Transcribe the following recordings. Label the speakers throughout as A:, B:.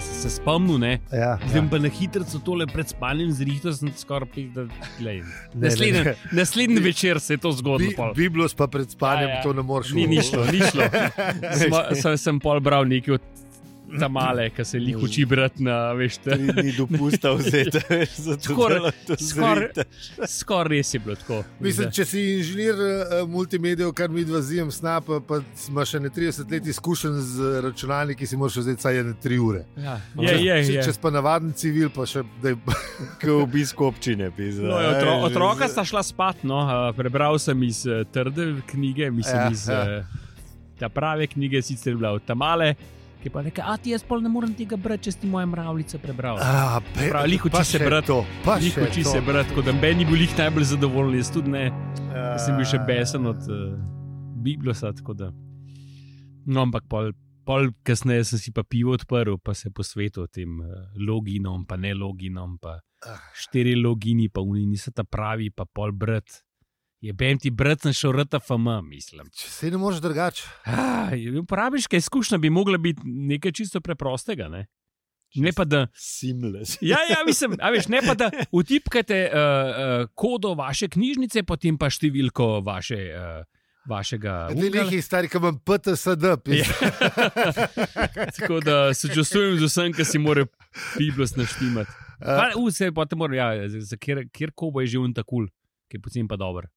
A: sem se spomnil, ne.
B: Ja,
A: Zdaj bom pa na hitro tole pred spanjem zrihtal, sem skoraj pizda. glej.
B: ne,
A: Naslednji,
B: ne.
A: naslednji večer se je to
B: Bi,
A: zgodilo. pol.
B: Biblos pa pred spanjem,
A: Ja, ja.
B: to ne moreš
A: Ni, ni šlo, ni šlo. Smo,
B: Veš.
A: sem, sem pol bral nekaj od ta male, ki se jih uči brati na veš. te-
C: Ni, ni dopusta vzeti, veš, zato
A: Skoraj-
C: da lahko to
A: skoraj-
C: zrihtaš.
A: Skoraj res je bilo tako.
B: Mislim, če si inženir eh, multimedijev, kar mi dva zijem snap, pa imaš še ne 30 let izkušenj z eh, računalniki, si moraš vzeti vsaj 3 ure.
A: Ja, je, je,
B: če,
A: je.
B: če si pa navaden civil, pa še da je
C: Kot obisk občine, pizda.
A: No, je otro, otroka sta šla spat, no. a, prebral sem iz eh, trde knjige, mislim ja,
B: Ja,
A: iz
B: ja.
A: ja. ta prave knjige, sicer je bila od Tamale, ki je pa reče: A ti jaz pol ne morem tega brati, če si moje mravljice prebral.
B: A, pe-
A: Prav, lih uči
B: pa
A: se
B: še
A: brat.
B: to, pa
A: Njih
B: še
A: oči
B: to.
A: se brat, kot da meni bil jih najbolj zadovoljen, jaz tudi ne,
B: Ja.
A: jaz sem bil še besen od uh, Biblosa. tako da. No, ampak pol, pol kasneje sem si pa pivo odprl, pa se posvetil tem uh, loginom, pa ne loginom, pa
B: Ah.
A: štiri logini, pa oni niso ta pravi, pa pol brat. Je bem ti brat, sem šel RTFM, mislim.
B: Če se ne moreš drugače,
A: Ah, uporabniška izkušnja bi mogla biti nekaj čisto preprostega. Ne, ne pa da
C: Simles.
A: Ja, ja, mislim, a veš, ne pa da utipkate uh, uh, kodo vaše knjižnice, potem pa številko vaše, uh, vašega
B: ne
A: umka.
B: nekaj stari, ki imam PTSD,
A: Ja.
B: pisa.
A: Tako da sočustvujem z vsem, ki si mora Biblos naštimati.
B: Eh.
A: Pa, U, se pa te mora, ja, za- za kjer, kjer kobo je že un takul, ki je potem pa dober.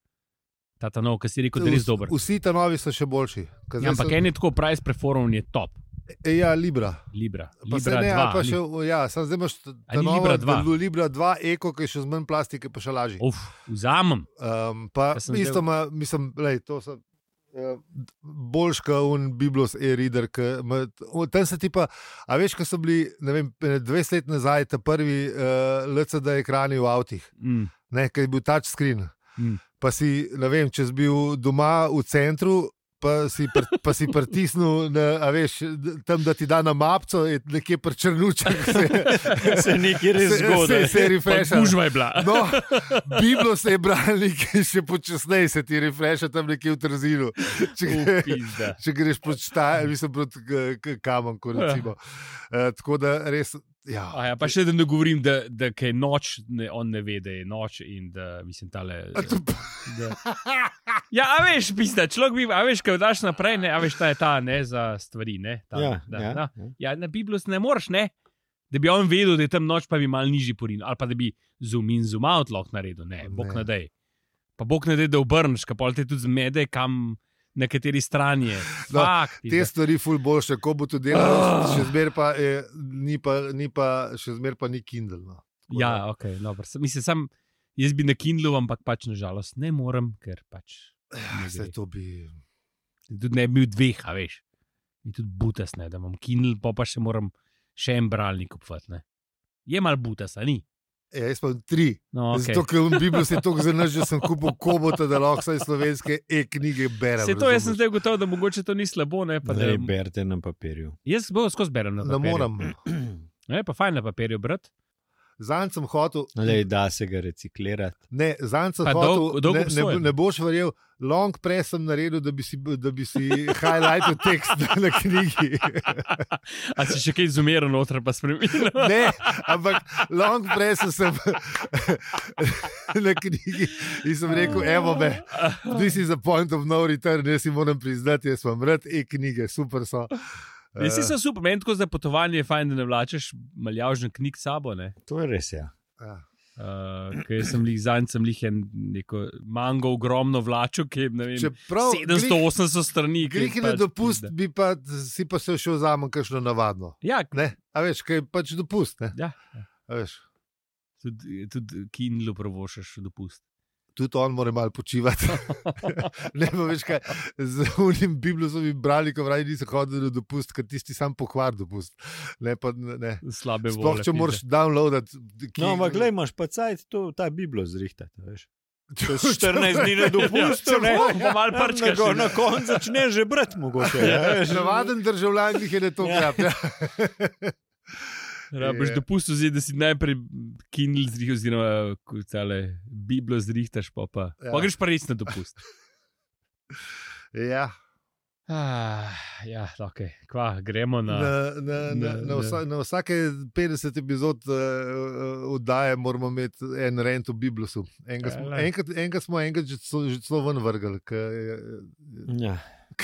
A: Ta ta nov, ki si rekel, da je res dober.
B: Vsi ta novi so še boljši. Ker
A: Ja,
B: zdaj
A: ampak
B: so-
A: en je tako price preforum je top,
B: E, ja, Libra.
A: Libra.
B: Pa se
A: Libra
B: ne, ali
A: 2,
B: pa
A: Lib-
B: še, o, ja, sam zdaj imaš t-
A: A
B: ta
A: ni
B: nova,
A: Libra dva?
B: Lu- Libra 2, eko, ki je še z manj plastike, pa še lažje.
A: Uf, vzamem.
B: Um, pa
A: Jaz sem
B: isto ima, mislim, lej, to so. eh, Boljš kot un Biblos e-reader. ke ima- o, Tam se ti pa, a veš, ko so bili, ne vem, 20 let nazaj, ta prvi uh, LCD ekrani v avtih,
A: Mm,
B: ne, ki je bil touchscreen.
A: Mm.
B: Pa si, ne vem, če si bil doma v centru. Pa si, pr, pa si pritisnil, na, a veš, d- tam, da ti da na mapco, je nekje prčrnuček, se,
C: Se nekaj res
B: se,
C: zgodi.
B: se
A: pa
B: refreša.
A: Gužva je bila.
B: No, Biblo se je bralnik in še počasneje se ti refreša tam nekje v Trzinu. Če,
A: U,
B: gre-
A: pizda.
B: če greš proti Štajerju, mislim proti k- k- Kamanku. recimo. Eh, Tako da res. Ja.
A: A Ja, pa še da ne govorim, da, da kaj noč, ne, on ne ve, da je noč in da mislim tale. Da. Ja, a veš, pisa, človek bi, a veš, kaj daš naprej, ne, a veš, ta je ta, ne, za stvari, ne. Ta,
C: Ja,
A: da,
C: ja,
A: da.
C: ja.
A: ja, na Biblus ne moreš, ne. Da bi on vedel, da je tam noč, pa bi mal nižji porin, ali pa da bi zoom in zoom out lahko naredil, ne, bog
B: Ne.
A: ne dej. Pa bog ne dej, da obrneš, kapol te tudi zmede, kam, na kateri strani je.
B: No,
A: Fak,
B: Te
A: pizda.
B: stvari ful boljše, ko bo to delal,
A: Ah.
B: še zmer pa, eh, ni pa, ni pa, še zmer pa ni Kindle. No. Tako da-
A: Ja, ok, dobro. sem- Mislim, sam jaz bi na Kindlu, ampak pač nažalost ne morem, ker pač.
B: Ja,
A: ne
B: saj
A: gre.
B: to bi.
A: Tudi ne bi bil dveh, a veš. In tudi butas ne, da imam Kindle, pa pa še moram še en bralnik kupiti. Je mal butas, a ni.
B: Ja, jaz pa tri.
A: No,
B: Okay.
A: okay.
B: Zato, ker v Bibliji je tako zelo, da sem kupil kobota, da lahko vsaj slovenske e-knjige berem.
A: Se to, jaz sem
B: razumeš?
A: zdaj ugotovil, da mogoče to ni slabo. Ne, pa, da,
C: Ne berite na papirju.
A: jaz bolj skozi berem na
B: Ne
A: papirju.
B: morem.
A: Ne, pa fajn na papirju, brat.
B: Zanj sem hotel,
C: No, Lej, da se ga reciklirati.
B: Ne, zanj sem
A: Pa dolgo-
B: hotel,
A: dolgo
B: ne, ne, bo-
A: obsojen.
B: ne boš verjel, long prej sem naredil, da bi si, da bi si highlightal tekst na, na knjigi.
A: A si še kaj izumiral noter, pa spremenil.
B: Ne, ampak long prej sem, sem na knjigi in sem rekel, evo me, this is a point of no return, jaz si moram priznati, jaz imam rad e-knjige, super so.
A: Ne, si so super, meni tako za potovanje je fajn, da ne vlačeš maljavžen knjig s sabo. Ne.
C: To je res, ja.
B: Ja.
A: Uh, ker sem jih zadnjič, sem jih en neko mango ogromno vlačil, ki je ne vem,
B: Čeprav
A: 700-800 strani. ki je
B: Greh je na
A: pač
B: dopust,
A: pizda.
B: bi pa si pa se šel vzamem kakšno navadno.
A: Ja,
B: Ne? A veš, kaj je pač dopust. Ne?
A: Ja.
B: A Veš,
A: tudi, tudi Kindle provošaš dopust.
B: tudi on mora malo počivati. ne pa več kaj. Z unim biblijskim bralnikom raje nisem hodil na dopust, ker tisti sam pokvar dopust. Ne, pa, ne.
A: Slabe
B: Sploh
A: volje.
B: če
A: pizda.
B: moraš downloadati. ki-
C: No, ampak glej, imaš pa cajt, to, ta Biblo zrihtati. veš.
B: Če-
C: Čez 14 dni na dopustu,
A: Ja,
C: ne.
A: pa malo
C: Na,
A: prčkaš.
C: go-
A: ne.
C: na koncu začneš že brati, mogoče. Ja, veš.
B: Navaden državljan jih je ne to
C: Ja.
B: grab. Ja.
A: Rabiš
B: Ja.
A: dopust vzeti, da si najprej Kindle zrihtaš, oziroma ko tale Biblijo zrihtaš, pa pa.
B: Ja.
A: Pa greš pa res na dopust.
B: ja.
A: Ah, ja, okay. Kva, gremo na.
B: Na, na, na,
C: Ja,
A: ne,
B: na,
A: ne.
B: vsa, na vsake 50 epizod eh, eh, oddaje moramo imeti en rent v Biblosu. Enega smo,
A: Ejle.
B: enkrat, enkrat smo enkrat že celo- že celo ven vrgli,
C: Ja.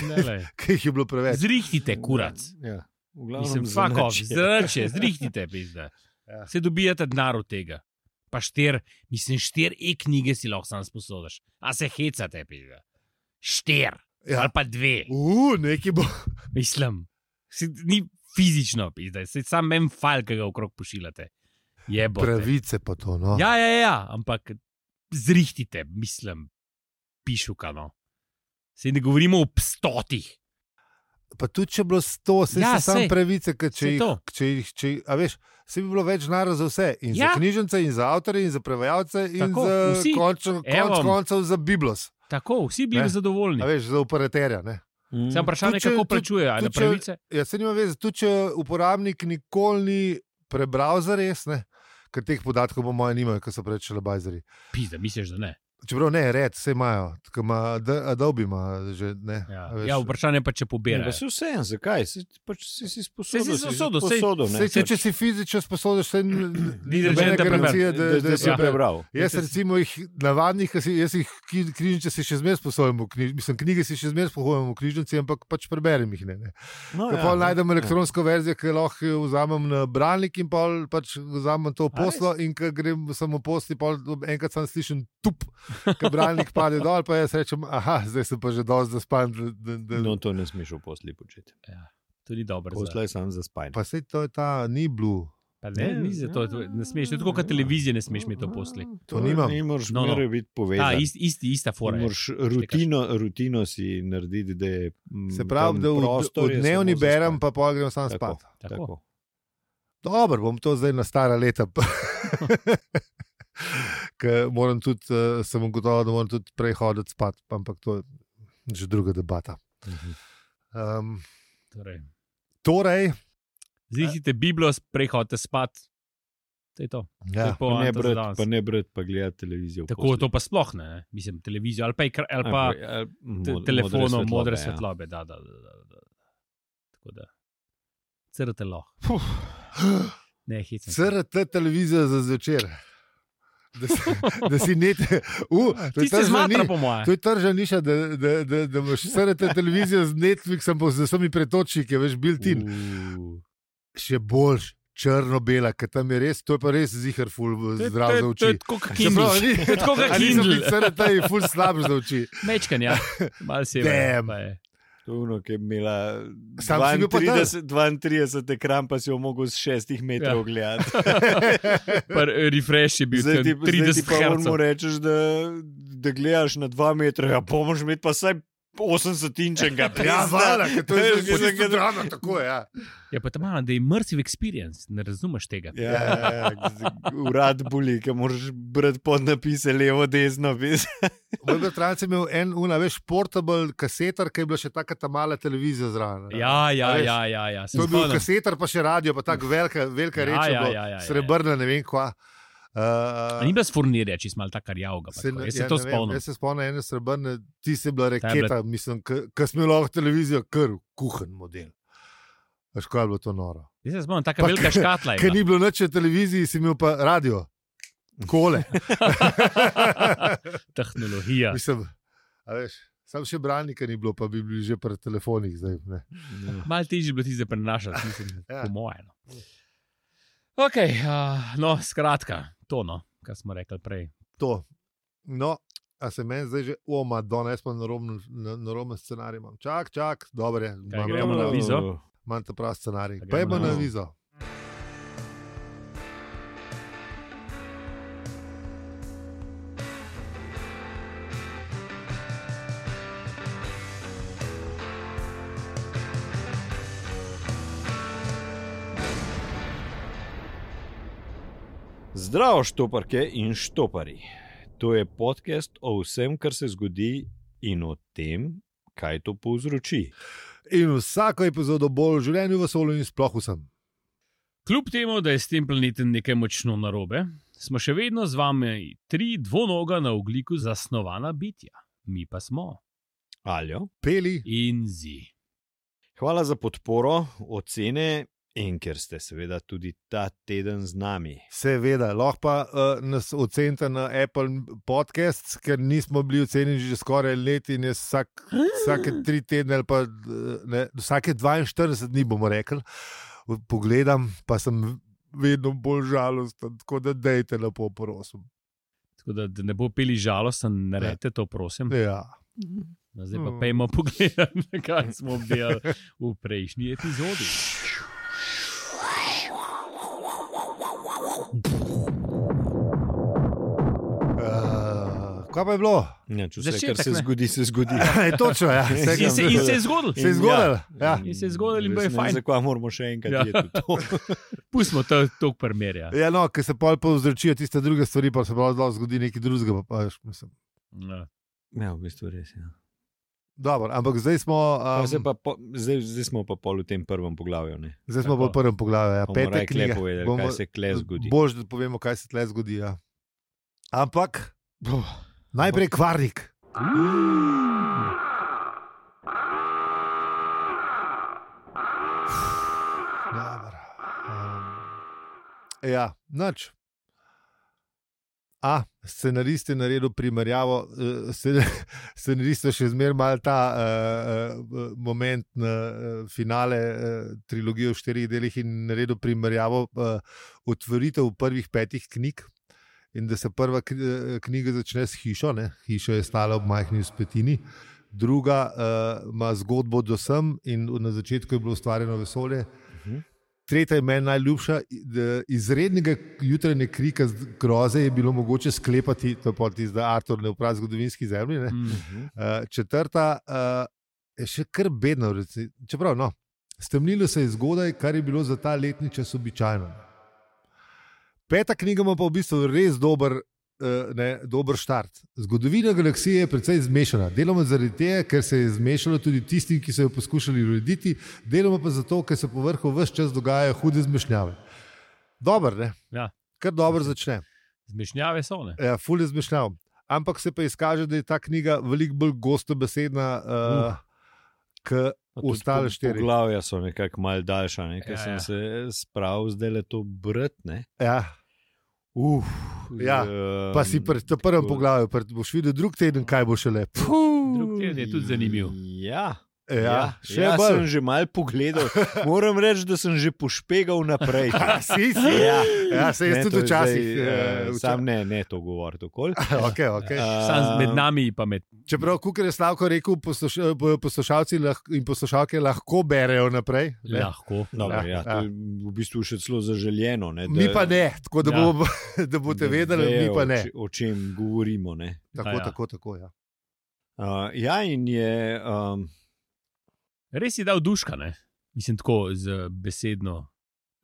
A: Nelej.
B: ki jih je bilo preveč.
A: Zrihtite, kurac.
C: Ja. V glavnem
A: Mislim,
C: za
A: fuck off,
C: nič je.
A: zrače, zrihtite, pizda.
B: Ja.
A: Se dobijate denar od tega. Pa štir, mislim, štir e-knjige si lahko sam sposodiš. A se hecate, pizda. Štir, ja.
B: Ja.
A: ali pa dve.
B: Uf, neki bo.
A: Mislim, se, ni fizično, pizda. Se sam mem fal, ki ga okrog pošiljate. Je bo.
B: Pravice pa to. No.
A: Ja, ja, ja, ampak zrihtite, mislim, pišukano. Se ne govorimo o stotih.
B: Pa tudi če je bilo 100, se
A: Ja,
B: ja, sam
A: sej.
B: pravice, ker če
A: Sej
B: jih,
A: to.
B: če jih, če jih, a veš, se bi bilo več denarja za vse. In ja.
A: Ja.
B: za knjižnice, in za avtorje, in za prevajalce, in
A: Tako,
B: za
A: vsi.
B: končno- konec
A: Evo.
B: koncev za Biblos.
A: Tako, vsi bili
B: Ne.
A: ne.
B: A
A: zadovoljni.
B: veš, za operaterja. Ne?
C: Mm.
A: Sam vprašanje,
B: Tudi če-
A: kako
B: tudi-
A: plačujejo, ali na
B: tudi če-
A: pravice.
B: Ja, se nima veze, tudi če uporabnik nikoli ni prebral za res, ne? ker teh podatkov, po mojem, nimajo, ker so preveč šalabajzeri.
A: Pizda, misliš, da ne.
B: Čeprav ne, red, vse imajo, tako ima Ad- Adobe, ima že ne.
A: Ja,
B: a veš.
A: ja vprašanje pa, če
C: Ja,
A: pobira.
C: pa se vseeno, zakaj? Se, pač, si si sposodil,
A: Saj si sposodil, saj-
C: sposodil, ne? pač.
B: Sej, če, če si fizično sposoben, se ni
A: Ni rečeno,
B: nobene
A: da prebere.
B: garancije,
C: da, da, da si
A: ja.
C: prebral.
B: Jaz, recimo, jih navadnih, ki si- jaz jih ki- knjižnice si še zmeraj sposojam, v knjiž- mislim, knjige si še zmeraj sposojam v knjižnici, ampak pač preberem jih. Ne, ne.
C: No,
B: Ja, pol najdem elektronsko verzijo, ki jo lahko vzamem na bralnik in pol pač vzamem to v
C: A
B: poslo in ko grem samo posli, pol enkrat sam slišim tup, ko bralnik pade dol, pa jaz rečem, aha, zdaj sem pa že dosti zaspan. Da, da, da.
C: No, to ne smeš v posli početi.
A: To ni dobro. za-
C: Posla je sam za spanje.
B: Pa se to je ta, ni blu.
A: Pa Ne, ni za to, to- ne smeš. To je tako kot televizije, ne smeš mi to posli.
B: To nimam.
C: Ne moreš
A: No,
C: no,
A: no.
C: no. biti
A: Ta
C: povezan.
A: ist, isti, ista fora. je.
C: Moraš rutino, rutino si narediti, da je mm,
B: Se pravi,
C: tam
B: da v,
C: prostor
B: v
C: je
B: dnevni
C: samo za
B: berem,
C: spanje.
B: pa pol grem sam
C: Tako.
B: spat.
A: Tako.
B: Dobro, bom to zdaj na stara leta. Ker moram tudi, eh, sem ugotovil, da moram tudi prej hoditi spat, ampak to je že druga debata.
C: Mhm.
B: Um,
A: Torej,
B: torej,
A: Zrihtite Biblijo, prehodite spat. To je to. To je
B: ja,
A: poanta
C: Pa ne
A: za
C: brati,
A: danes.
C: pa ne brati, pa gledati televizijo. v
A: Tako
C: posli.
A: to pa sploh ne, ne. Mislim, televizijo ali pa, ekra- ali
C: Ali
A: pa
C: ali
A: te-
C: mod-
A: telefonom, modre
C: ja.
A: svetlobe. Da, da, da, da, da. Tako da. Crte lahko. Ne, hitro.
B: CRT televizija za zvečer. Da si, da si ne te, uh, to
A: Ti
B: je
A: se
B: tržna
A: zmatra,
B: ni-
A: po mojem.
B: to je tržna niša, da, da, da, da imaš CRT televizijo z Netflixom, pa z vsemi pretočniki, veš, built-in.
A: Uh.
B: Še boljš, črno-bela, ker tam je res, to je pa res zihar, ful, eh,
A: To je-
B: zdrav
A: to je- To je
B: za oči.
A: tako kot
B: Se
A: Kindle.
B: pravi, ni-
A: To je tako kot
B: A nisem bil
A: Kindle.
B: CRT, je ful slab za oči.
A: Mečkan, ja, malo se
B: Damn.
A: je.
C: To je ono, ki je imela
B: Sam si bil pa
C: 32, 32 ekran, pa si jo mogel z 6 metrov
A: Ja.
C: ja. gledati.
A: Refresh je bil
C: Zdaj ti,
A: tam
C: zdaj ti
A: 30
C: pa
A: km.
C: mu rečeš, da, da gledaš na 2 metra, ja, pa moraš imeti pa vsaj 80 inčenga.
B: Ja, vala, ker to je že
C: Jaz
B: zelo
C: ga-
B: drama, tako je. Ja.
A: Ja, pa tam malo, da je immersive experience, ne razumeš tega.
C: Ja, ja, ja, urad boli, ki moraš brati podnapise levo, desno. vis-
B: Moj bratranec je imel en, una, veš, portable kasetar, ki je bila še taka ta mala televizija zraven. ne.
A: Ja,
B: A
A: ja,
B: veš,
A: ja, ja, ja. se
B: To je bil
A: spomnim.
B: kasetar, pa še radio, pa tako velika, velika
A: Ja,
B: reč,
A: ja,
B: ja,
A: ja, ja, ja.
B: srebrna, ne vem kva.
A: A
B: Uh,
A: Ni bila sfornirja, če si mal takar javga.
B: Se,
A: pač Jaz se to
B: ne vem,
A: spomnim.
B: Jaz se spomnim ene srebrne, ti si bila
A: Ta je bila-
B: raketa, mislim, ki smo lahko televizijo, kar kuhan model. Veš, kaj je bilo to noro.
A: Jaz se spomnim, taka
B: Pa
A: velika
B: ke-
A: škatla je.
B: Ker
A: bila.
B: ni bilo noč na televiziji, si imel pa radio, kole.
A: Tehnologija.
B: Mislim, a veš, sam še branika ni bilo, pa bi bili že pri telefonih. Zdaj, ne.
A: Mal težje bilo ti zdaj prenašati, mislim,
B: Ja.
A: po mojem. no. Ok, uh, no, skratka, to no, kar smo rekli prej.
B: to. No, a se meni zdaj že, o, Madonna, jaz pa na roben scenarij imam. Čak, čak, dobro je, imam-
A: gremo na
B: imam-
A: vizo?
B: Imam ta prav scenarij.
A: Pa gremo
B: Pejmo
A: na
B: na
A: vizo.
B: vizo.
C: Zdravo, štoparke in štoparji. To je podcast o vsem, kar se zgodi in o tem, kaj to povzroči.
B: In vsako epizodo bolj v življenju, v vesolju in sploh vsem.
A: Kljub temu, da je s tem planetom nekaj močno narobe, smo še vedno z vami tri dvonoga na ogliku zasnovana bitja. Mi pa smo.
C: Aljo.
B: Peli,
A: in zi.
C: Hvala za podporo, ocene in ker ste seveda tudi ta teden z nami.
B: seveda, lahko pa uh, nas ocenite na Apple Podcasts, ker nismo bili ocenjeni že skoraj let in je vsak, vsake tri tedne ali pa eh, ne, vsake 42 dni bomo rekli. Pogledam, pa sem vedno bolj žalosten, tako da dejte lepo, prosim.
A: Tako da, da ne bo pili žalosten, ne rete to, prosim.
B: Ja.
A: No, zdaj pa
B: Mm.
A: pojmo pogled, kaj smo delali v prejšnji epizodi.
B: Uh, kaj pa je bilo?
C: Ja, če vse,
A: Začetek,
C: kar se
A: ne.
C: zgodi, se zgodi.
B: Je točno, ja. Vse,
A: In
B: kar
A: se, in se je zgodil.
B: Se je zgodilo, ja.
A: In se je zgodilo in bilo je
C: Res ne vem,
A: fajn.
C: Zakaj moramo še enkrat
A: Ja.
C: ja. jeti to?
A: Pustimo to, to primerja.
B: Ja, no, ker se pol povzročijo tiste druge stvari, pa se pa zelo zgodi nekaj drugega. Pa, pa, veš, mislim.
A: Ja.
C: Ja, v bistvu res.
A: Um,
C: Ja.
B: Dobro, ampak zdaj smo,
C: Pa zdaj,
B: um,
C: pa po, zdaj, zdaj smo pa pol v tem prvem poglavju. Ne?
B: zdaj smo
A: tako.
B: pa v prvem poglavju. Ja.
C: Bomo
B: Pete
C: raje kle
B: knjige.
C: povedali,
B: Bomo-
C: kaj se kle zgodi.
B: Bož, da povemo, kaj se tle zgodi. Ja. Ampak najprej kvarnik. Dobro. Em, Ja, noč. A, scenarist je naredil primerjavo, eh, scen- scenarist je še zmeraj malo ta eh, eh, moment na eh, finale eh, trilogije v štirih delih in naredil primerjavo eh, otvoritev prvih petih knjig. In da se prva kn- eh, knjiga začne s hišo, ne? hiša je stala ob majhni uspetini, druga eh, ima zgodbo do sem in v- na začetku je bilo ustvarjeno vesolje.
C: Mhm.
B: Tretja je meni najljubša, i- da izrednega jutranje krika z- groze je bilo mogoče sklepati, to je pol tisto, da Artur ne upravlja zgodovinski zemlji. Ne?
A: Mm.
C: Mhm.
B: Eh, četrta eh, je še kar bedna, reci- čeprav no. Stemnilo se je zgodaj, kar je bilo za ta letni čas običajno. Peta knjiga ima pa v bistvu res dober, eh, ne, dober štart. Zgodovina galaksije je precej zmešana. Deloma zaradi tega, ker se je zmešalo tudi tistim, ki so jo poskušali urediti, deloma pa zato, ker se povrhu vse čas dogajajo hude zmešnjave. Dober, ne?
A: Ja.
B: Kar dobro začne.
A: Zmešnjave so ne.
B: Ja, fully zmišljav. Ampak se pa izkaže, da je ta knjiga veliko bolj gostobesedna. Uh, k,
C: Pa tudi
B: Ostale
C: po-
B: štiri.
C: Poglavja so nekako mal daljša, ne?
A: Ja,
C: ker ja, sem
A: ja.
C: ja. se spravil zdaj le to bratne.
B: ja.
C: Uf,
B: Ja,
C: um,
B: Pa si pri tem prvem poglavju, pred, boš videl drug teden, kaj bo šele. Puh,
A: Drug teden je tudi zanimiv.
C: Ja.
B: ja, še
C: ja, sem
B: bolj.
C: že mal pogledal. Moram reči, da sem že pošpegal naprej.
B: Si, si.
C: Ja,
B: Ja, se jaz
C: Ne,
B: tudi
C: to
B: včasih.
C: zdaj,
B: eh,
C: eh,
B: vča-
C: Sam Ja. ne, ne to govoriti okoli.
B: Okay, okay.
A: Sam med nami pa med.
B: Čeprav, kar je Slavko rekel, posluš, eh, poslušalci lahko, in poslušalke lahko berejo naprej. ne.
A: Lahko.
C: Dobro,
B: Ja,
C: ja, ja, to
B: ja.
C: je v bistvu še celo zaželjeno. Ne, da-
B: Mi pa ne, tako da,
A: Ja.
B: bomo, da boste
C: da
B: vedeli, mi
C: vejo,
B: pa
C: O,
B: ne.
C: če- o čem govorimo. Ne.
A: Ja,
B: Tako,
A: ja.
B: tako, tako. Ja.
C: Uh, ja, in je. Um,
A: Res je dal duška, ne? Mislim tako z besedno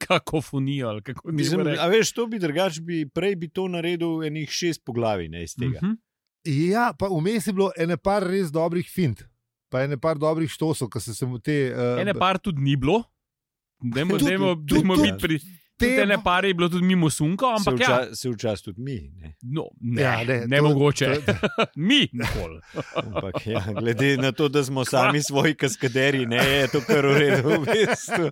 A: kakofonijo ali kako bi
C: mislim,
A: se
C: a veš, to bi drugače, bi, prej bi to naredil enih šest poglavi ne, iz tega.
B: Mhm.
A: Mhm.
B: Ja, pa vmes je bilo ene par res dobrih fint, pa ene par dobrih štosov, ki so se mu te. Uh,
A: Ene par tudi ni bilo. Dajmo,
B: Tudi-
A: dajmo,
B: tudi-
A: dajmo
C: tudi-
A: biti pri. Te ene par je bilo tudi mimo sunka,
C: Se
A: ampak ja.
C: vča- Se včasih tudi mi. Ne.
A: No, ne,
B: Ja,
A: ja,
B: ne,
A: ne,
B: to-
A: ne mogoče.
B: to-
A: Mi nikoli.
C: Ampak, ja, glede na to, da smo sami svoji kaskaderi, ne, je to kar v redu. V bistvu.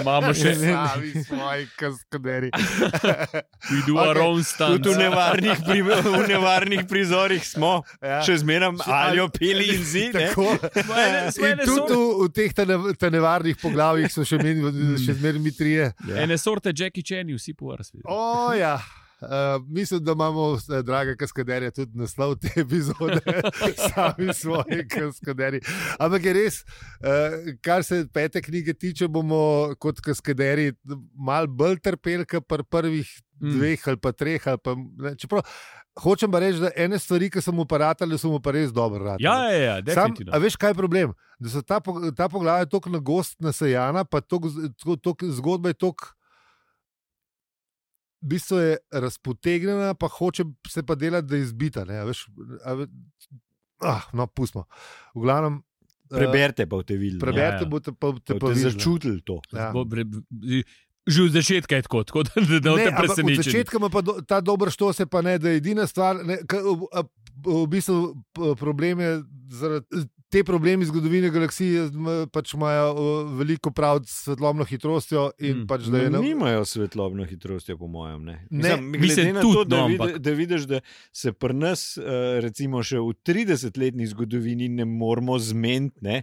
A: Imamo še
C: Ne, ne.
B: Slavi svoji kaskaderi.
A: We do
B: Okay.
A: okay. our own stunt.
C: Tudi v nevarnih, pri, v nevarnih prizorih smo,
B: Ja.
C: še zmeraj alijo pili in zide.
B: Tako. Ja, In tudi v, v teh ta ne- ta nevarnih poglavjih so še, meni, še zmeraj mi trije.
A: Ene sorte Jackie Chani, vsi po vrsti.
B: ja. O, ja. Uh, mislim, da imamo, eh, drage kaskaderje, tudi naslov te epizode, sami svoje kaskaderje. Ampak je res, eh, kar se pete knjige tiče, bomo kot kaskaderji mal bolj trpeli, kot pri prvih
A: Mm.
B: dveh ali pa treh. Ali pa, ne, čeprav, hočem pa reči, da ene stvari, ki sem uparatali, so mu pa res dobro radi.
A: Ja, ja, ja,
B: Sam,
A: definitivno.
B: a veš, kaj je problem? Da so ta, po- ta poglavja tako na gost nasejana, pa tok, tok, tok, zgodba je tako. V bistvu je razpotegnjena, pa hoče se pa delati, da je izbita. Ne, a veš, a ve, ah, no, pustimo. V glavnem, eh,
C: Preberite pa v te videli.
B: preberite,
A: Ja, ja.
B: boste pa te
C: Ste pa
B: pa videli.
C: začutili to.
B: Ja.
A: Bo bre- Že od začetka je tako, tako da ne boste
B: od
A: presenečeni.
B: začetka ima pa do, ta dober štos, je pa ne, da je edina stvar, ne, k, v, a- v bistvu p- problem je zaradi. Te problemi zgodovine galaksije m, pač imajo o, veliko prav s svetlobno hitrostjo. In
A: Mm.
B: mm. pač, da je na-
C: Nimajo svetlobne hitrosti, po mojem. Ne.
B: Ne,
C: Mislim, glede
A: mislim
C: na
A: tudi,
C: to, da,
A: no,
C: vide,
A: ampak-
C: da vidiš, da se pri nas, eh, recimo, še v 30-letni zgodovini ne moremo zmeniti, ne,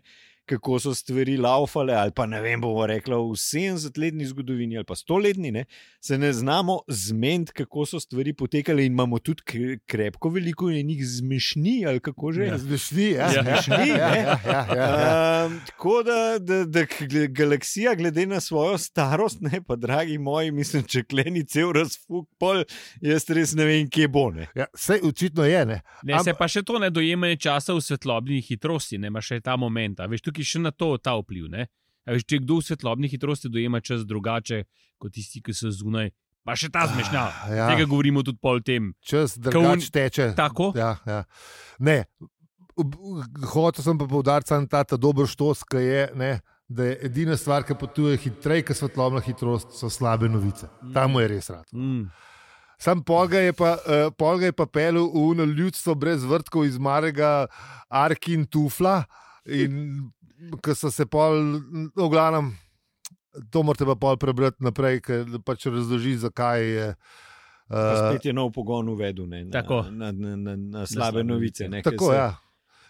C: kako so stvari laufale, ali pa ne vem, bomo rekli v 70-letni zgodovini ali pa 100-letni, ne, se ne znamo zmeniti, kako so stvari potekale in imamo tudi kre- krepko veliko enih zmešni ali kako že.
A: Ja.
B: Zmešni, ja.
A: Ja.
C: Zmešni,
B: ja,
C: ne.
B: ja, ja, ja, ja.
C: Um, tako da, da, da k- gle- galaksija, glede na svojo starost, ne pa, dragi moji, mislim, če kleni cel razfuk, pol, jaz res ne vem, kje bo. Ne.
B: Ja, sej očitno je. Ne?
A: Ne,
B: Am-
A: se pa še to ne dojemanje časa v svetlobni hitrosti, ne ima še ta moment. a Veš, tukaj še na to ta vpliv. Ne? A Veš, če kdo v svetlobni hitrosti dojema čas drugače kot tisti, ki so zunaj, pa še ta zmešnja.
B: Ah, Ja,
A: Tega govorimo tudi pol tem.
B: čas
A: Ko
B: drugače
A: un-
B: teče.
A: Tako?
B: Ja, ja. Ne, ob- hotel sem pa poudariti samo ta, ta dober štos, ki je. Ne, Da je edina stvar, ki potuje hitreje, kot svetlobna hitrost, so slabe novice. Tam mu je res rad.
A: Mm.
B: Sam polga je pa, uh, polga je pa pelil v uno ljudstvo brez vrtkov iz marega Arkin Tufla, in ki so se pol, v glavnem, to morate pa pol prebrati naprej, ker pač razloži, zakaj je. eh,
C: Pa
B: Uh,
C: Spet je nov pogon uvedel ne, na,
A: Tako.
C: na, na, na, na slabe
A: slabe
C: novice. Ne, ker
B: Tako,
C: se,
B: ja.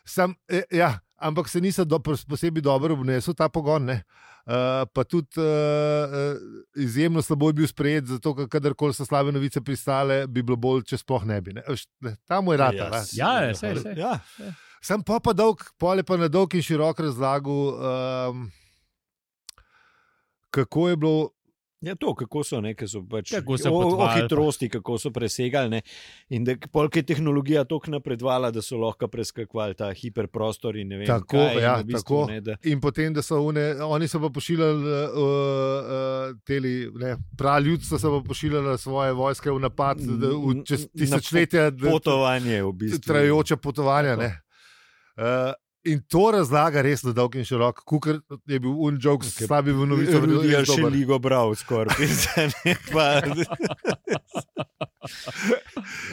B: Sam, eh, ja. Ampak se nisem do, posebej dobro obnesel ta pogon. ne. Uh, pa tudi uh, izjemno slabo je bil sprejet, zato ker kadarkoli so slabe novice pristale, bi bilo bolj, če sploh ne bi. Ne? Veš, ne, Ta moj rad.
C: Ja,
B: Yes.
A: Ja, ja, sej, sej.
C: Ja.
B: Sam pa pa dolg, pole pa na dolg in širok razlagal, um, kako je bilo
C: Ja, to, kako so, ne, ker so pač
A: Ja, Kako so
C: o, o
A: potovali,
C: hitrosti, kako so presegali. Ne, in da polk je tehnologija tako napredvala, da so lahko preskakovali ta hiperprostor. in ne Vem,
B: Tako,
C: kaj, in
B: ja,
C: v bistvu,
B: tako.
C: Ne, da,
B: In potem, da so une, oni so pa pošiljali, uh, uh, teli, ne, prav ljudstvo so pa pošiljali svoje vojske v napad, da, v, čez
C: Na
B: tisočletja da-
C: potovanje v bistvu.
B: trajajoča potovanja.
C: Tako.
B: ne. Uh, in to razlaga res na dolg in širok, kukar je bil unjok,
C: Okej.
B: okay. slabi v novicah,
C: Rudi je
B: res
C: še
B: dober.
C: ligo bral, skoraj pisan.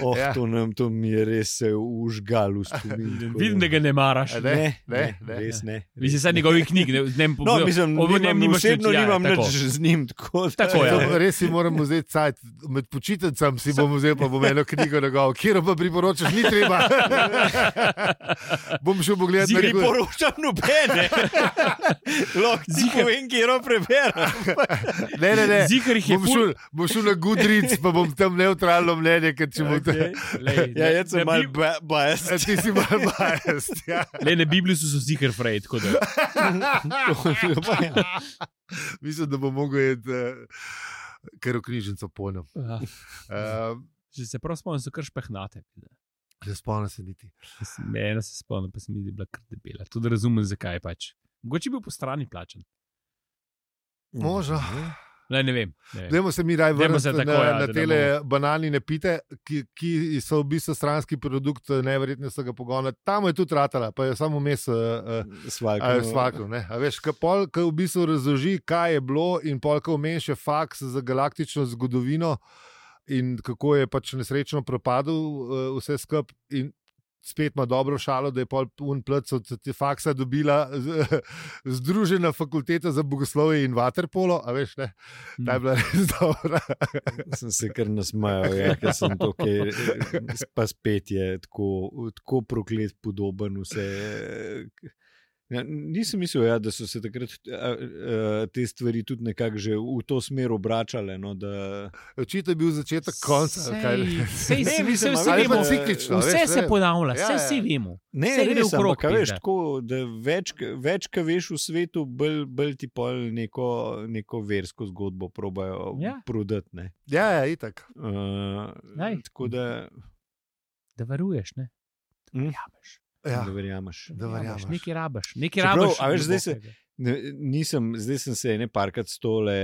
C: oh,
B: Ja.
C: ja. to, nam, to mi je res se užgal v spomin. tako
A: Vidim, da ga ne maraš.
B: A
C: Ne, ne,
B: ne,
C: ne,
B: ne.
C: res ne.
A: Vi ste sad njegovih knjig, ne, ne,
C: No, mislim,
A: o njem
C: nimam,
A: nimaš
C: osebno
A: nič, ja,
C: nimam
A: tako.
C: nič z njim. Tako, da,
A: Tako, ja.
B: To Res si moram vzeti cajt, med počitnicami si bom vzel pa bom eno knjigo njegov, kjer pa priporočaš, ni treba. bom šel pogledat na knjigo.
C: Priporočam nobene, lahko si
A: Zika.
C: povem, kje jo preberem.
B: Ne, ne, ne.
A: Zikr jih je
B: Bom
A: ful-
B: šel, bom šel na Goodreads, pa bom tam neutralno mnenje, ker če bom tam.
C: Okay.
A: Lej,
C: Ja,
A: ne-
C: jaz sem
A: ne
C: mal
A: bi-
C: ba- biased.
B: Okay. Ti si mal bajest. Ja.
A: Le na Bibliju so zikr fraj, tako da.
B: Mislim, da bom mogel jeti, ker v knjižnico ponem.
A: Ja,
B: Uh,
A: Že se prav spomnim, so kar špehnate.
B: ne spomnim se niti.
A: Mene se spomnim, pa sem videl, da je bila kar debela. Tudi razumem, zakaj pač. Mogoče je bil po strani plačen.
B: Možno.
A: Ne, ne vem. Ne vem.
B: Dajmo se mi raje
A: Dajmo se
B: vrniti
A: tako,
B: na,
A: ja,
B: na
A: da ne
B: tele bananine pite, ki, ki so v bistvu stranski produkt neverjetnega pogona. Tam je tudi ratala, pa je samo mes. Uh,
C: no,
B: A, Svakov, ne. A veš, kaj pol, ki v bistvu razloži, kaj je bilo, in pol, ki omeni še faks za galaktično zgodovino in kako je pač nesrečno propadel eh, vse skupaj. In spet ima dobro šalo, da je pol unplc od te faksa dobila z- Združena fakulteta za bogoslovje in vaterpolo, a veš, ne.
C: Hmm.
B: Ta je bila res dobra.
C: Sem se kar nasmejal, ja, ker sem tukaj, pa spet je tako, tako proklet podoben. Vse. Ja, nisem mislil, ja, da so se takrat a, a, te stvari tudi nekako že v to smer obračale. No, da,
B: Očitno je bil začetek konca. ali
A: Sej, sej,
B: kaj?
C: Ne,
A: sej,
C: mislim,
A: mislim, vsi
B: Ali pa
A: vemo.
C: si-
B: ciklično.
A: Vse
B: veš,
A: se
B: ne.
A: ponavlja,
B: Ja,
A: vse
B: ja.
A: vsi vemo.
C: ne,
A: Saj gre
C: res,
A: v krog,
C: ampak, a veš,
A: pizda.
C: tako, da več, k- več kaj veš v svetu, bolj, bolj ti pol neko, neko versko zgodbo probajo
A: Ja.
C: prodati. ne.
B: Ja, ja, itak.
C: Uh,
A: Lej.
C: tako da,
A: Da veruješ, ne? Da
C: Mm.
A: verjameš.
B: Ja.
C: da verjameš.
B: Da verjameš.
A: Nekaj rabaš, nekaj
C: Čeprav,
A: rabaš.
C: a veš, zdaj se-
A: globokega.
C: Ne, nisem, zdaj sem se ene parkrat s tole,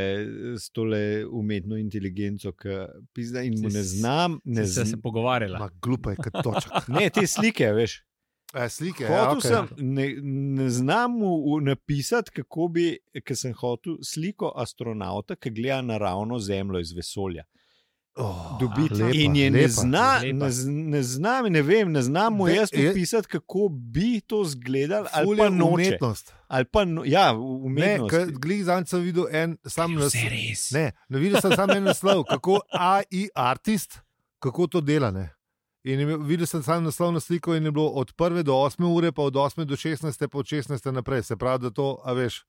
C: s tole umetno inteligenco, ki pizda in mu
A: Si
C: ne
A: s-
C: znam. Ne,
A: Saj sta
C: zn
A: se pogovarjala.
B: Ma, glupa je kot točka.
C: ne te slike, veš.
B: E, slike.
C: Hotel
B: ja,
C: okay.
B: okay.
C: sem, ne, ne znam mu napisati, kako bi, ker sem hotel sliko astronauta, ki gleda naravno Zemljo iz vesolja.
B: oh,
C: Dobiti.
B: lepa,
C: in je ne
B: lepa.
C: zna,
A: lepa.
C: ne, z- ne znam, ne vem, ne znam mu
B: Ne,
C: jaz
B: je-
C: opisati, kako bi to izgledalo, ali
B: Ful
C: pa
B: je
C: noče.
B: umetnost.
C: Ali pa, no, ja,
B: Ne,
C: umetnost.
B: ker glih zanj sem videl en sam nas.
A: Vse res.
B: Ne, ne videl sem samo en naslov, kako AI artist, kako to dela. Ne? In je imel- videl sem samo naslov na sliko, in je bilo od 1 do 8 ure, pa od 8 do 16, pa od 16 naprej, se pravi, da to, a veš.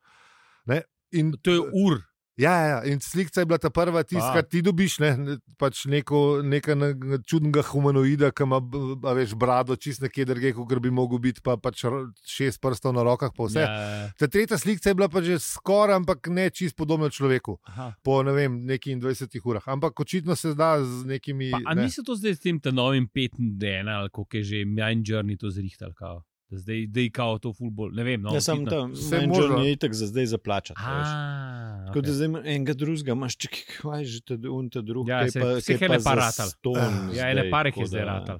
B: Ne? In
A: To je ur.
B: Ja, ja, ja, in slika je bila ta prva,
C: Pa.
B: tiska, ti dobiš ne, ne, pač neko, neka na- čudnega humanoida, ki ima b- a veš, brado čist nekje drugje, kot bi mogel biti, pa pač ro- šest prstov na rokah. Pa vse. Ja.
A: Ja,
B: Ta tretja slika je bila pa že skoraj, ampak ne čist podobna človeku,
A: aha.
B: po ne vem, neki 20 urah. Ampak očitno se da z nekimi.
A: Pa, a
B: ne.
A: niso to zdaj s tem ta novim 5-1 ali kako je že Mind Journey to zrihtali? Kao? Da Zdaj da je kao to fullball, ne vem. No,
C: Ja, samo
A: očitno.
C: tam,
B: Saj
C: vse
B: možno.
C: možno je itak za zdaj zaplačati. a veš.
A: A,
C: Tako da
A: okay.
C: zdaj ima enega drugega, imaš čekaj, kaj je že ta un, ta drugi.
A: Ja,
C: kaj
A: se-
C: pa,
A: vseh
C: kaj
A: ene
C: pa
A: par
C: za
A: ratal.
B: Ah.
C: ston
A: Ja,
C: zdaj,
A: ene parih je
C: tako
A: zdaj
C: da-
A: ratal.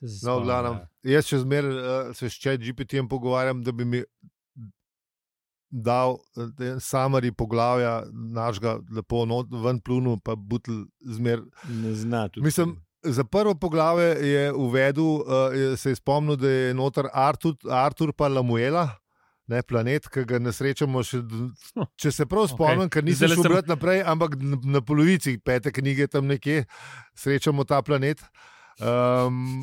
A: Se se
B: No,
A: spomnim,
B: glavnem,
A: ja.
B: jaz še zmeraj uh, se s čat GPT-jem pogovarjam, da bi mi dal uh, samari poglavja našega lepo not, ven plunu, pa butl zmer.
C: Ne zna tudi.
B: Mislim, Za prvo poglavje je uvedel, uh, je- se je spomnil, da je noter Artur, Artur pa Lamuela. Ne, planet, ki ga ne srečamo, še, d- če se
A: No,
B: prav
A: Okej.
B: spomnim, okay. ker nisem
A: Zdajle
B: šel
A: sem-
B: brati naprej, ampak na, na polovici pete knjige tam nekje srečamo ta planet. Um,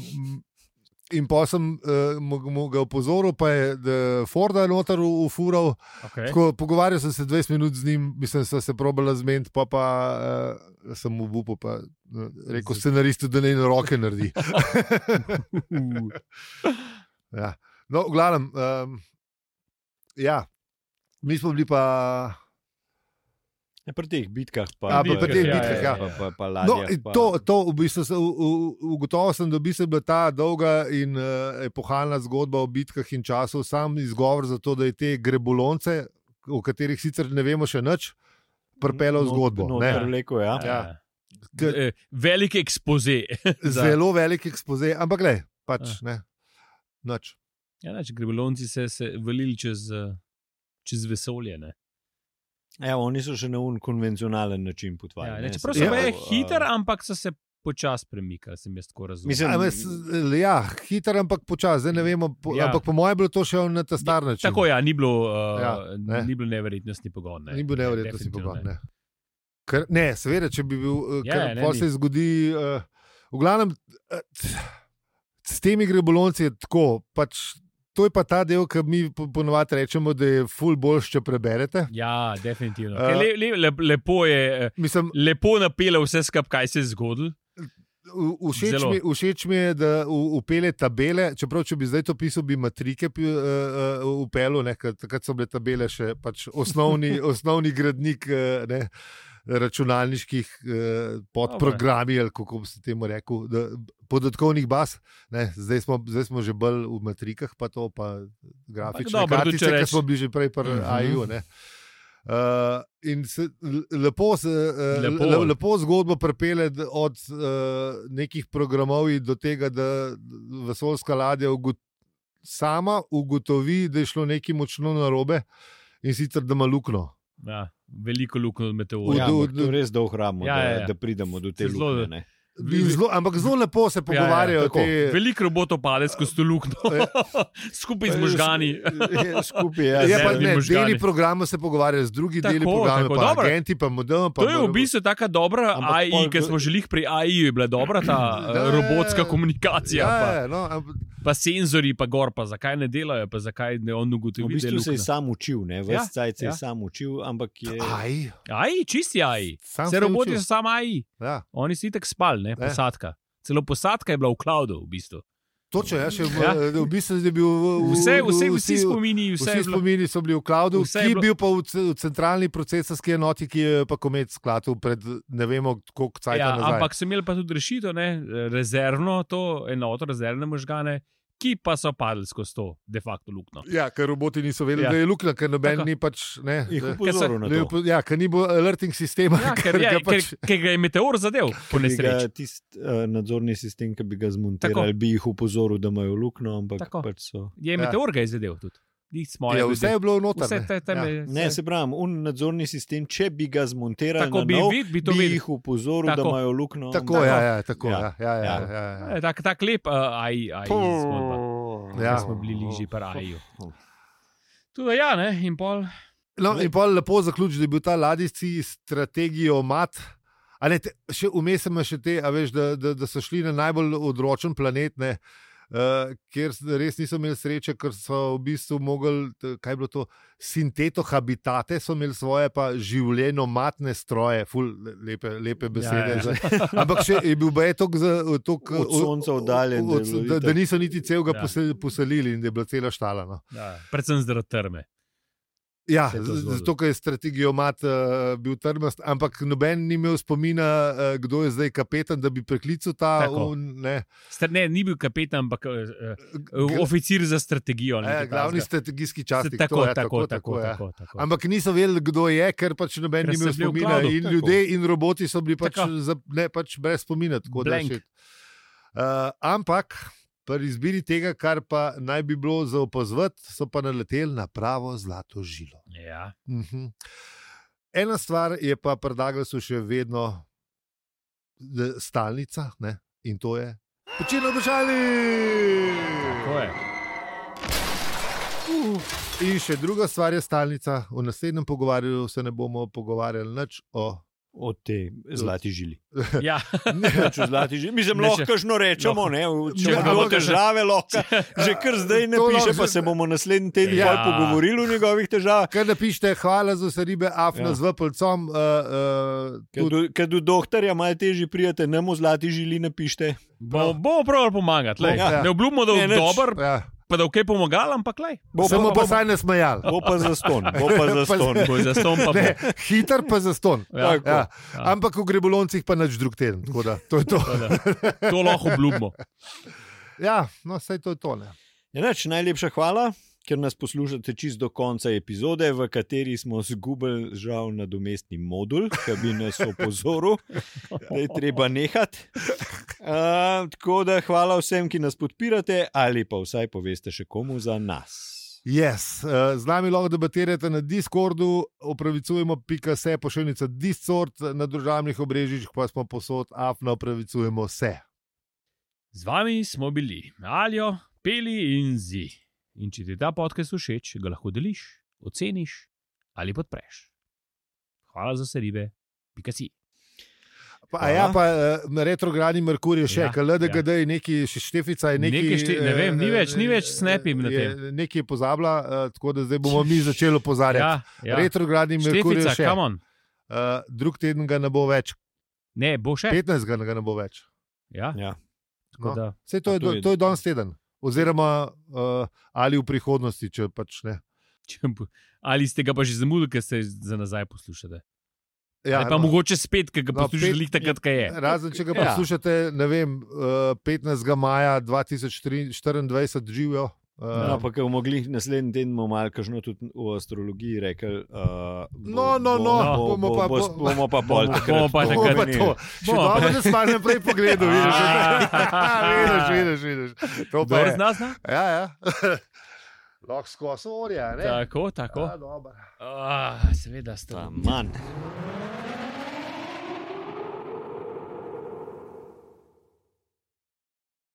B: in pa sem uh, mu ga opozoril, pa je da Forda noter u- ufural.
A: okay.
B: Tako, pogovarjal sem se 20 minut z njim, mislim, da se probala zmeniti, pa, pa uh, sem mu upal, pa uh, rekel scenaristu, da naj na roke naredi.
A: Uh,
B: Ja. No, v glavnem, um, ja. mi smo bili pa.
C: Ja, pri teh bitkah,
B: A,
C: pa,
A: pri teh bitkah,
B: ja.
C: pa, pa, pa
B: No,
C: ladjah,
B: in
C: pa,
B: to, to v bistvu se, u- u- ugotovil sem, da v bistvu je bila ta dolga in uh, epohalna zgodba o bitkah in času sam izgovor za to, da je te grebulonce, o katerih sicer ne vemo še nič, pripeljal v
C: not-
B: zgodbo.
C: not
B: ne.
C: Preleko, ja.
B: Ja. K-
A: Eh, Velik ekspoze. Za-
B: Zelo velik ekspoze, ampak le, pač ne. Noč.
A: Ja, nač, grebelonci se, se valili čez, eh, čez vesolje. Ne?
C: Ja, oni so še na un konvencionalen način
A: Ja,
C: potovali.
A: ne,
C: ne,
A: čeprav
C: se
A: so
B: Ja.
A: bile
C: pravi, a-
A: hiter, ampak so se počasi premikali, sem jaz tako razumel.
C: Mislim,
B: A ves, Ja, hiter, ampak počasi, zdaj ne vemo. Po,
A: Ja.
B: ja. Ampak po mojem je bilo to še na ta star način.
A: Tako ja, ni bilo, uh, ja,
B: Ja,
A: ne.
B: ne.
A: ni bilo neverjetnostni pogon. Ne.
B: Ni bil nevreten, da si
A: Definitivno
B: pogan.
A: ne.
B: Ne. Ker, ne, seveda, če bi bil,
A: Ja,
B: ja, ker
A: ne,
B: pol
A: ni.
B: se zgodi. Uh, v glavnem, eh, t- s temi grebulonci je tako. Pač, to je pa ta del, ki mi po- ponovadi rečemo, da je ful boljš, če preberete.
A: Ja, definitivno.
B: Eh.
A: Uh, le, le, le, lepo je, eh,
B: Mislim,
A: lepo napele vse skupaj, kaj se je zgodilo.
B: V- Všeč
A: Zelo.
B: mi, všeč mi je, da u- upelje tabele. Čeprav, če bi zdaj to pisal, bi matrike pi- eh, eh, upelo, ne, ker takrat so bile tabele še pač osnovni, osnovni gradnik eh, ne, računalniških eh, podprogrami, ali kako bi se temu rekel, da, podatkovnih baz. Ne, zdaj, smo, zdaj smo že bolj v matrikah, pa to pa grafične
A: dobro, tudi če
B: kartice, ki
A: reč-
B: smo bili že prej pri
C: Mhm.
B: AIU. ne. Uh, in se, l- lepo, se, uh,
A: Lepo.
B: lepo. Le, lepo zgodbo prepele d- od uh, nekih programov do tega, da vesoljska ladja ugot, sama ugotovi, da je šlo nekaj močno narobe in sicer da ima luknjo.
A: Ja, veliko luknjo od
B: V-
A: meteorja.
C: Ja,
B: v-
C: ampak to res dolgo hramo,
A: Ja,
C: da,
A: ja, ja.
C: da pridemo do te
A: Se zelo-
C: luknje. ne.
B: In Zelo, ampak zelo lepo se
A: ja,
B: pogovarjajo o
C: tako.
B: tem.
A: Veliko robotov pade skozi to luknjo,
B: Ja.
A: skupaj
B: eh,
A: z možgani.
C: Ja, Skupaj ja,
B: Je
A: Ja,
B: pa
A: zeleni
B: ne,
A: možgani.
B: deli programa se pogovarjajo z drugimi
A: Tako,
B: deli programa,
A: tako,
B: pa
A: dobro.
B: agenti, pa model. Pa
A: To je v bistvu tako dobra
C: Ampak
A: AI,
C: pol-
A: ki smo želeli pri AI, je bila dobra ta eh,
B: Ja, ja, ja.
A: robotska komunikacija.
B: Ja,
A: Pa,
B: ja, no, ampak
A: pa senzori, pa gor, pa zakaj ne delajo, pa zakaj ne on ugotovi,
C: V
A: da je
C: bistvu se je
A: luknja.
C: sam učil, ne,
A: Ja,
C: vse cajt se
A: ja.
C: je sam učil, ampak je.
B: Aj,
A: AI, čisti AI.
B: sam
A: Vse
B: se je
A: roboti
B: učil.
A: so samo AI.
B: Ja.
A: Oni so itek spali, ne, posadka. Celo posadka je bila v cloudu, v bistvu.
B: Točno, ja, še v,
A: Ja.
B: ja. v bistvu je bil. v- v-
A: Vse,
B: v-
A: vse,
B: v-
A: vsi spomini, vse
B: Vsi
A: je bilo.
B: spomini so bili v cloudu,
A: Vse je
B: ki je
A: bilo-
B: bil pa v, ce- v centralni procesorski enoti, ki jo je pa komet sklatil pred ne vemo koliko časa.
A: Ja,
B: nazaj.
A: ampak so imeli pa tudi rešitev, ne, rezervno to enoto, rezervne možgane, ki pa so padli skozi to de facto luknjo.
B: Ja, ker roboti niso vedeli,
A: Ja.
B: ja. da je luknja, ker noben
A: Tako.
B: ni pač. Ne,
C: Jih
B: da-
A: Ker
C: upozoril na
B: da je
C: to.
B: upo- ja, ker ni bilo alerting sistema.
A: Ja, ker, ja,
B: ga
A: ker,
B: pač,
A: ker ga je meteor zadev, po
C: Bi ga
A: nesreči.
C: Tisti uh, nadzorni sistem, ki bi ga
A: Tako.
C: zmontiral, bi jih upozoril, da imajo luknjo, ampak
A: Tako.
C: pač so.
A: Je
B: Ja.
A: meteor ga je zadev tudi. Ni smo
B: ja,
A: ali
B: vse je bilo noter.
A: vse
B: ne.
A: te teme.
B: ja.
C: Ne, se pravi, un nadzorni sistem, če bi ga zmontiral,
A: Tako
C: na
A: bi,
C: nov,
A: vid, bi to
C: bi
A: videl.
C: jih upozoril,
A: Tako.
C: da imajo luknjo.
B: Tako,
C: ampak-
B: ja, ja, tako.
C: Ja.
B: Ja, ja, ja,
C: Ja.
B: ja, ja.
A: Eh, Tak, tak lep, uh, aj, aj, zgodba.
B: Ja.
A: Ja, smo bili bližje paraju. Tudi ja, ne, in pol.
B: No, in pol lepo zaključiti, da je bil ta ladijski strategijo mat. A Ne, te, še vmes sem še te, a veš, da, da, da so šli na najbolj odročen planet, ne, uh, kjer s- res niso imeli sreče, ker so v bistvu mogli, t- kaj je bilo to, sinteto habitate, so imeli svoje pa življenjo-matne stroje, ful, le- lepe, lepe besede.
A: Ja, ja.
B: Ja, ja. Ampak še je bil baj tako
C: Od sonca oddaljen, da je bilo
B: da, da
C: itak.
B: niso niti celega
A: Ja.
B: ja. poselili in da je bila cela štala. No.
A: Ja. Predvsem zaradi trme.
B: Ja,
A: se je to
B: z-
A: zgodilo.
B: zato ker je strategijo mat uh, bil trmast, ampak noben ni imel spomina, uh, kdo je zdaj kapetan, da bi preklical ta.
A: Tako.
B: Un, ne,
A: Star, ne, ni bil kapetan, ampak uh,
B: Gl-
A: oficir za strategijo. ali
B: eh,
A: nekaj
B: glavni
A: takega.
B: strategijski časnik.
A: Tako,
B: to, ja,
A: tako, tako. tako, tako.
B: Ampak niso vedeli, kdo je, ker pač noben
A: Ker
B: ni
A: so
B: imel
A: bili v
B: spomina.
A: cloudu,
B: In
A: tako.
B: ljudje in roboti so bili pač,
A: Tako.
B: za, ne, pač brez spomina. tako da
A: Blank.
B: shit. Uh, ampak pri izbiri tega, kar pa naj bi bilo za opazovati, so pa naleteli na pravo zlato žilo.
A: Ja.
B: Mhm. Ena stvar je pa pri Douglasu še vedno d- stalnica, ne? in to je počilo
A: Tako
B: obžali.
A: je.
B: In še druga stvar je stalnica. V naslednjem pogovarju se ne bomo pogovarjali nič o.
C: O tej zlati žili.
A: Ja.
C: Pač o zlati žili. Mislim,
A: Ne,
C: lahko kažno rečemo,
A: lahko.
C: ne, v- če
B: Ja,
C: imamo
B: ampak-
C: težave, lahko. Že kar zdaj ne
B: To
C: piše,
B: lahko-
C: pa se bomo naslednji teden
A: Ja.
C: ja. pogovorili o njegovih težavah.
B: Kaj napišete, hvala za vse ribe, afna ja.
C: Ja.
B: z vplcom. Uh, uh,
C: Ker
B: tudi-
C: do, ker do doktorja malo težje prijete, ne mu zlati žili napište.
A: Bomo bo pravili pomagati. lej.
B: Ja.
A: Ne obljubimo, da
C: Ne,
A: bo
C: nič.
A: dober,
B: ja.
A: pa da bo kaj pomagal, ampak le.
C: Bo
B: Samo pa
C: pa,
B: saj ne smejal.
C: bo pa zaston, bo pa zaston.
A: Bo za ston pa bo.
B: Ne, hiter pa zaston.
A: Ja,
C: Tako.
B: Ja. Ampak v greboloncih pa nič drug teden. tako da To je to.
A: tako da To lahko obljubimo.
B: Ja, no, vse to je tole.
C: Enač, Ja, najlepša hvala, ker nas poslušate čist do konca epizode, v kateri smo zgubili žal nadomestni modul, ki bi nas opozoril, da je treba nehati. Uh, tako da hvala vsem, ki nas podpirate, ali pa vsaj poveste še komu za nas.
B: Yes. eh, Z nami lahko debatirate na Discordu, opravičujemo, pika se, pošiljnica Discord, na državnih obrežjih pa smo posod, afna, opravičujemo se.
A: Z vami smo bili Aljo, Peli in Zi. In če ti je ta podcast všeč, ga lahko deliš, oceniš ali podpreš. Hvala za vse ribe, pika si.
B: Pa, a ja,
C: Ja.
B: pa eh, na retrogradni Merkur je še,
A: Ja,
B: ja, LDGD ja. je neki, še štefica je neki.
A: Nekaj šte- ne
B: eh,
A: vem, ni več- ni več
B: eh,
A: snapim na
B: je-
A: tem.
B: Nekaj je pozabila, eh, tako da zdaj bomo mi začeli opozarjati.
A: Ja, ja.
B: Retrogradni Merkur je
A: Štefica,
B: še.
A: come on.
B: Uh, drug teden ga ne bo več,
A: Ne, bo še.
B: 15 ga ne bo več.
A: Ja,
C: Ja.
A: tako da,
B: Vse to, je
C: A to
B: do-
C: je-
B: to je danes teden, oziroma uh, ali v prihodnosti, če pač ne.
A: če bo- ali ste ga pa že zamudili, ker se za nazaj poslušate. Ja,
B: Ja,
A: ali pa
B: no.
A: mogoče spet, ker ga
B: No,
A: poslušate
B: pet-
A: no, takrat, ko je.
B: Razen, če ga
C: Ja.
B: poslušate, ne vem, eh, 15. maja 2024 živijo. eh,
C: No, pa, ko bomo mogli naslednji teden, bomo malo kažno tudi v astrologiji rekli. Uh,
B: No, no, no, bomo pa-
C: bo,
B: bo-
C: bomo pa pol.
A: bomo-
C: takrat
A: bomo pa
B: Bomo pa
C: omenili.
B: to. Še
A: Bomo pa-
B: dobro, da smo naprej pogledali, vidiš,
A: Ah.
B: vidiš, vidiš, vidiš. To pa
A: Kdo
B: je.
A: zna, zna?
B: Ja, ja. Lahko skozi orje, a ne?
A: Tako, tako.
B: Ja, dobro.
A: Ah, seveda, sta.
C: Taman.